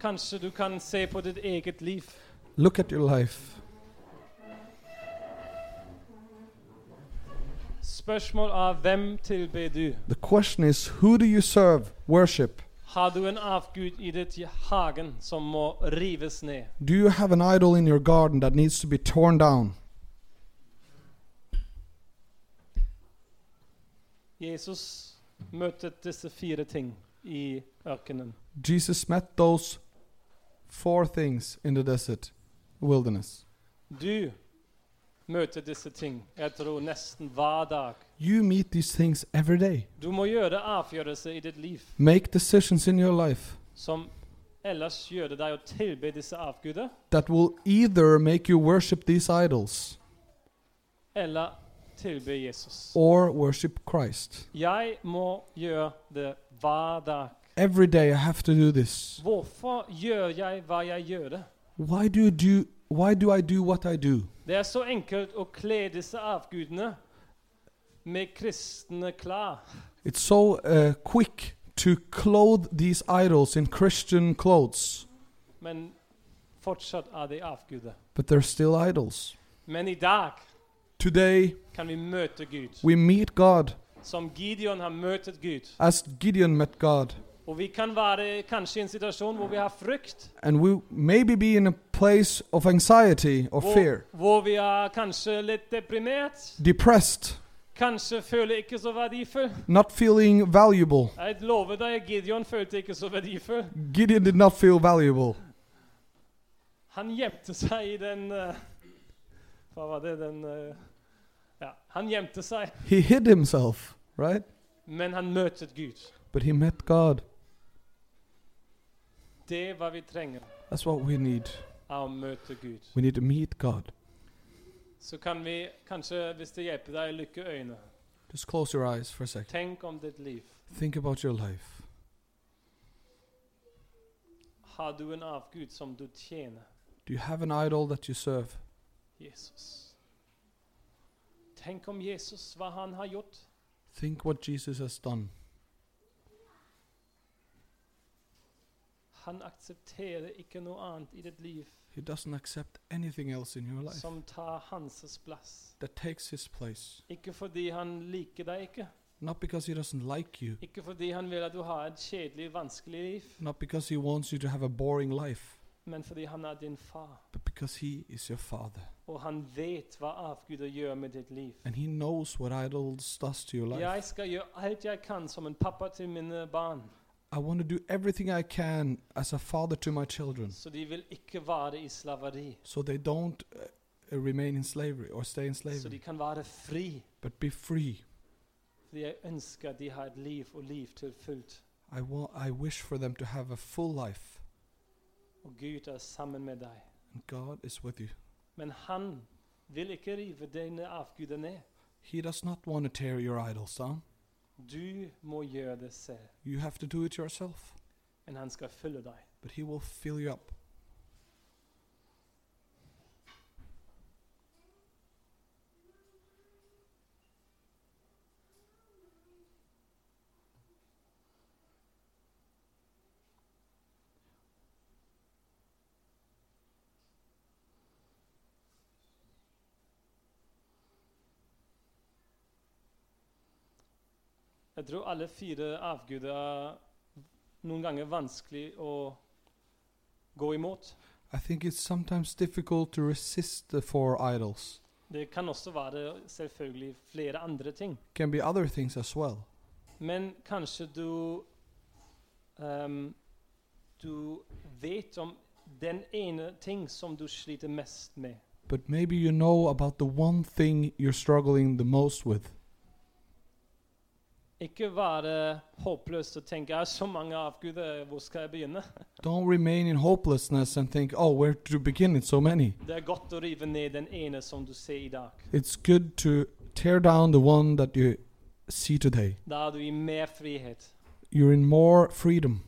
S1: Kanskje du kan se på ditt eget liv.
S2: Look at your life.
S1: Spørsmål er hvem tilber du?
S2: The question is who do you serve, worship?
S1: Har du en avgud i ditt hagen som må rives ned?
S2: Do you have an idol in your garden that needs to be torn down?
S1: Jesus møtte disse fire ting i ørkenen.
S2: Jesus met those four things in the desert wilderness.
S1: Du møter disse ting, jeg tror nesten hver dag.
S2: You meet these things every day.
S1: Du må gjøre avgjørelser i ditt liv
S2: Make decisions in your life
S1: som ellers gjør det deg å tilbe disse avguder,
S2: that will either make you worship these idols
S1: eller tilbe Jesus.
S2: or worship Christ.
S1: Jeg må gjøre det hver dag.
S2: Every day I have to do this.
S1: Hvorfor gjør jeg hva jeg gjør? det?
S2: Why do you do why do I do what I do?
S1: Det er så enkelt å kle disse avgudene med kristne klær.
S2: It's so uh, quick to clothe these idols in Christian clothes,
S1: Men fortsatt er de avguder.
S2: but they're still idols.
S1: Men i dag
S2: Today
S1: kan vi møte Gud.
S2: we meet God
S1: Som Gideon har møtt Gud.
S2: as Gideon met God,
S1: Og vi kan være kanskje i en situasjon hvor vi har frykt.
S2: and we maybe be in a place of anxiety or
S1: Hvor,
S2: fear,
S1: hvor vi er kanskje litt deprimert.
S2: depressed,
S1: Kanskje føler ikke så verdifull.
S2: not feeling valuable.
S1: Jeg lover deg, Gideon følte ikke så verdifull.
S2: Gideon did not feel valuable.
S1: Han gjemte seg i den eh, Hva var det? Den eh, Ja, han gjemte seg,
S2: He hid himself, right?
S1: men han møtte Gud.
S2: But he met God.
S1: Det er hva vi trenger,
S2: That's what we need.
S1: er å møte Gud.
S2: We need to meet God.
S1: Så kan vi kanskje, hvis det hjelper deg, lukke øynene.
S2: Just close your eyes for a second.
S1: Tenk om ditt liv.
S2: Think about your life.
S1: Har du en avgud som du tjener?
S2: Do you have an idol that you serve?
S1: Jesus. Tenk om Jesus, hva han har gjort.
S2: Think what Jesus has done.
S1: Han aksepterer ikke noe annet i ditt liv
S2: He doesn't accept anything else in your life
S1: som tar hans plass.
S2: that takes his place.
S1: Ikke fordi han liker deg ikke.
S2: Not because he doesn't like you,
S1: Ikke fordi han vil at du har et kjedelig, vanskelig liv.
S2: not because he wants you to have a boring life,
S1: Men fordi han er din far,
S2: but because he is your father
S1: og han vet hva avguder gjør med ditt liv.
S2: and he knows what idols does to your life.
S1: Jeg skal gjøre alt jeg kan som en pappa til mine barn,
S2: I want to do everything I can as a father to my children
S1: så de vil ikke være i slaveri.
S2: so they don't uh, uh, remain in slavery or stay in
S1: Så de
S2: slavery,
S1: kan være fri.
S2: but be free.
S1: Fordi jeg ønsker at de har et liv, og liv til fullt.
S2: I want I wish for them to have a full life
S1: Og Gud er sammen med deg.
S2: and God is with you.
S1: Men han vil ikke rive dine avguder ned.
S2: He does not want to tear your idols down.
S1: Du må gjøre det selv,
S2: You have to do it yourself,
S1: men han skal følge deg.
S2: but he will fill you up.
S1: Jeg tror alle fire avguder er noen ganger vanskelig å gå imot.
S2: I think it's sometimes difficult to resist the four idols.
S1: Det kan også være selvfølgelig flere andre ting.
S2: Can be other things as well.
S1: Men kanskje du ehm, Du vet om den ene ting som du sliter mest med.
S2: But maybe you know about the one thing you're struggling the most with.
S1: Ikke være håpløs og tenke jeg har så mange avguder, hvor skal jeg begynne?
S2: Don't remain in hopelessness and think, oh, where to begin? It's so many.
S1: Det er godt å rive ned den ene som du ser i dag.
S2: It's good to tear down the one that you see today.
S1: Da er du i mer frihet,
S2: You're in more freedom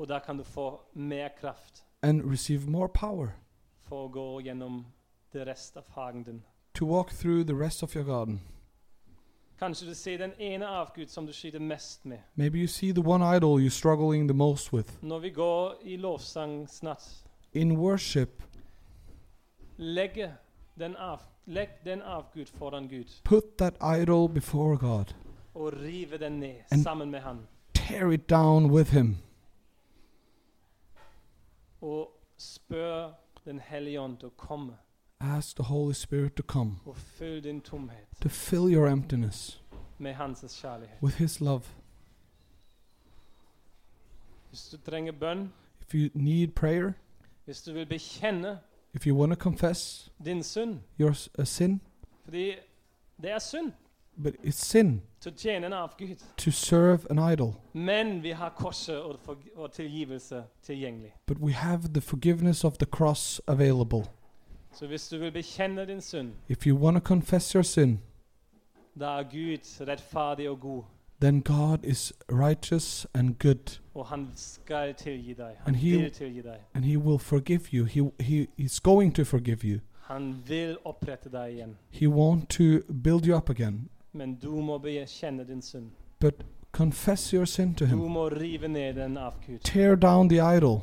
S1: og da kan du få mer kraft
S2: and receive more power
S1: for å gå gjennom det rest av hagen din.
S2: to walk through the rest of your garden.
S1: Kanskje du ser den ene avgud som du sliter mest med.
S2: Maybe you see the one idol you're struggling the most with.
S1: Når vi går i lovsang snart,
S2: In worship,
S1: legg den, av, legg den avgud foran Gud,
S2: put that idol before God,
S1: og rive den ned
S2: And-
S1: sammen med Han.
S2: tear it down with Him.
S1: Og spør Den hellige ånd å komme,
S2: Ask the Holy Spirit to come,
S1: og fyll din tomhet
S2: to fill your emptiness
S1: med Hans kjærlighet.
S2: with His love.
S1: Hvis du trenger bønn,
S2: If you need prayer,
S1: hvis du vil bekjenne
S2: if you want to confess
S1: din synd.
S2: your s- a sin,
S1: Fordi det er synd
S2: but it's sin
S1: til å tjene en avgud.
S2: to serve an idol.
S1: Men vi har korset og, forg- og tilgivelse tilgjengelig.
S2: But we have the forgiveness of the cross available.
S1: Så hvis du vil bekjenne din synd,
S2: If you want to confess your sin,
S1: da er Gud rettferdig og god,
S2: then God is righteous and good,
S1: og han skal tilgi deg. Han
S2: And he-
S1: vil tilgi deg.
S2: and He will forgive you. He, he, he's going to forgive you.
S1: Han vil opprette deg igjen.
S2: He want to build you up again.
S1: Men du må bekjenne din synd.
S2: Confess your sin to
S1: Du
S2: Him.
S1: må rive ned den avgud.
S2: Tear down the idol.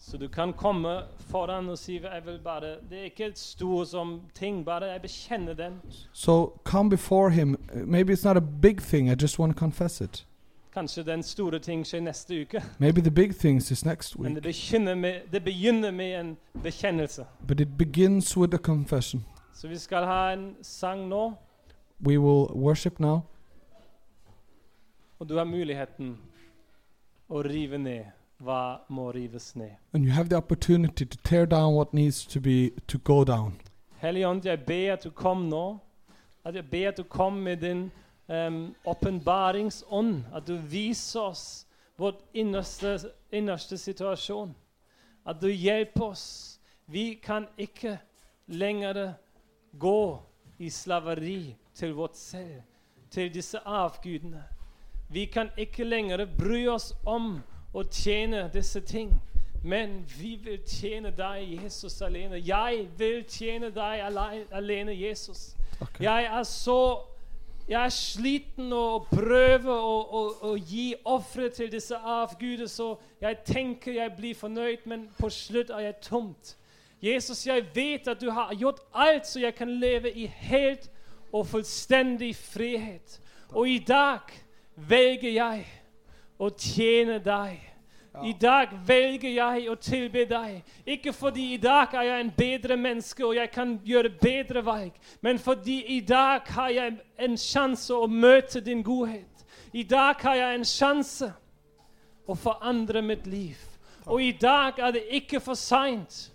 S1: Så du kan komme foran og si jeg vil bare, Det er ikke et stor som ting, bare jeg bekjenner den.
S2: So come before Him. Uh, Maybe it's not a big thing. I just want to confess it.
S1: Kanskje den store ting skjer neste uke.
S2: Maybe the big things is next
S1: Men
S2: week.
S1: det begynner, med, det begynner med en bekjennelse.
S2: But it begins with a confession.
S1: Så vi skal ha en sang nå,
S2: We will worship now.
S1: og du har muligheten å rive ned hva må rives ned.
S2: And you have the opportunity to tear down what needs to be to go down.
S1: Hellige Ånd, jeg ber at du kom nå. At jeg ber at du kom med din em, åpenbaringsånd. At du viser oss vår innerste, innerste situasjon. At du hjelper oss. Vi kan ikke lenger gå i slaveri til vårt selv, til disse avgudene. Vi kan ikke lenger bry oss om å tjene disse ting. Men vi vil tjene deg, Jesus, alene. Jeg vil tjene deg ale- alene, Jesus.
S2: Takk.
S1: Jeg er så Jeg er sliten og prøver å, å, å gi ofre til disse avguder, så jeg tenker jeg blir fornøyd, men på slutt er jeg tomt. Jesus, jeg vet at du har gjort alt så jeg kan leve i helt og fullstendig frihet. Og i dag velger jeg å tjene deg. I dag velger jeg å tilbe deg. Ikke fordi i dag er jeg en bedre menneske og jeg kan gjøre bedre valg, men fordi i dag har jeg en sjanse å møte din godhet. I dag har jeg en sjanse å forandre mitt liv. Og i dag er det ikke for seint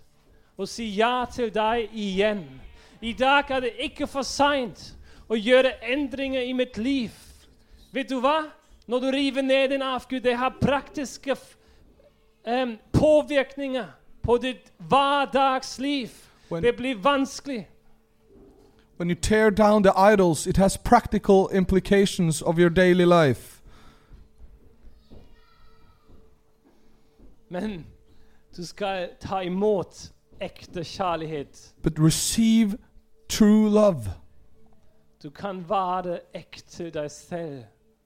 S1: å si ja til deg igjen. I dag er det ikke for seint å gjøre endringer i mitt liv. Vet du hva? Når du river ned din avgud, det har praktiske f- em, påvirkninger på ditt hverdagsliv.
S2: When-
S1: Det blir vanskelig.
S2: When you tear down the idols, it has practical implications of your daily life.
S1: Men du skal ta imot ekte kjærlighet.
S2: But receive true love
S1: Du kan være ekte deg selv,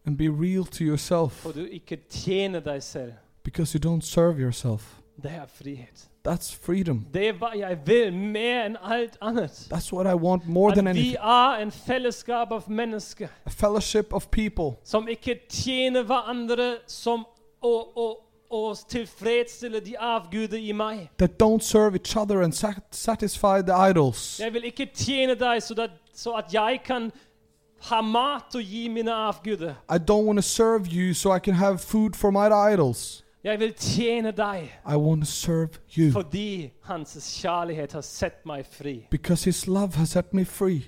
S2: and be real to yourself
S1: og du ikke tjener deg selv.
S2: because you don't serve yourself.
S1: Det er frihet.
S2: That's freedom.
S1: Det er hva jeg vil mer enn alt annet.
S2: That's what I want more than
S1: At vi
S2: anything.
S1: er en fellesskap av mennesker
S2: A fellowship of people
S1: som ikke tjener hverandre som å, å, å tilfredsstille de avguder i meg.
S2: that don't serve each other and sat- satisfy the idols.
S1: Jeg vil ikke tjene deg så, at- så at jeg kan ha mat å gi mine avguder.
S2: I don't want to serve you so I can have food for my idols.
S1: Jeg vil tjene deg
S2: I want to serve you
S1: fordi Hans kjærlighet har sett meg fri.
S2: because His love has set me free.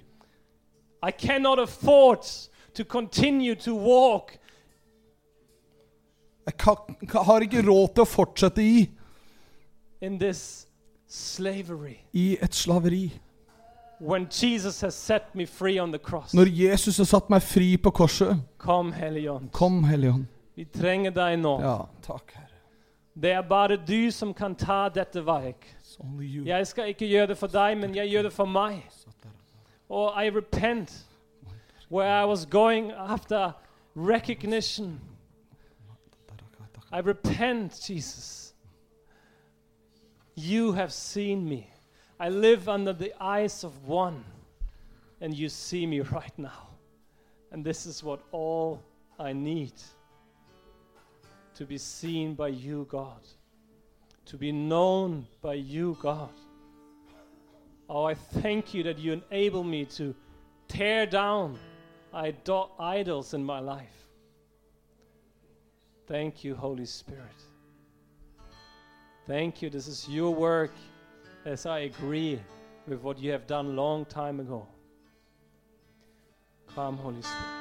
S1: I cannot afford to continue to walk
S2: Jeg kan, kan- har ikke råd til å fortsette i,
S1: in this slavery
S2: i et slaveri.
S1: when Jesus has set me free on the cross.
S2: Når Jesus har satt meg fri på korset
S1: Kom, Hellige Ånd.
S2: Kom, Hellige Ånd.
S1: Vi trenger deg nå.
S2: Ja, takk, Herre.
S1: Det er bare du som kan ta dette valg.
S2: It's only you.
S1: Jeg skal ikke gjøre det for deg, men jeg gjør det for meg. Og I repent where I was going after recognition. I repent, Jesus. You have seen me. I live under the eyes of one, and you see me *laughs* right now. And this is what all I need to be seen by you, God, to be known by you, God. Oh, I thank you that you enable me to tear down idol- idols in my life. Thank you, Holy Spirit. Thank you. This is your work as I agree with what you have done long time ago. Come, Holy Spirit.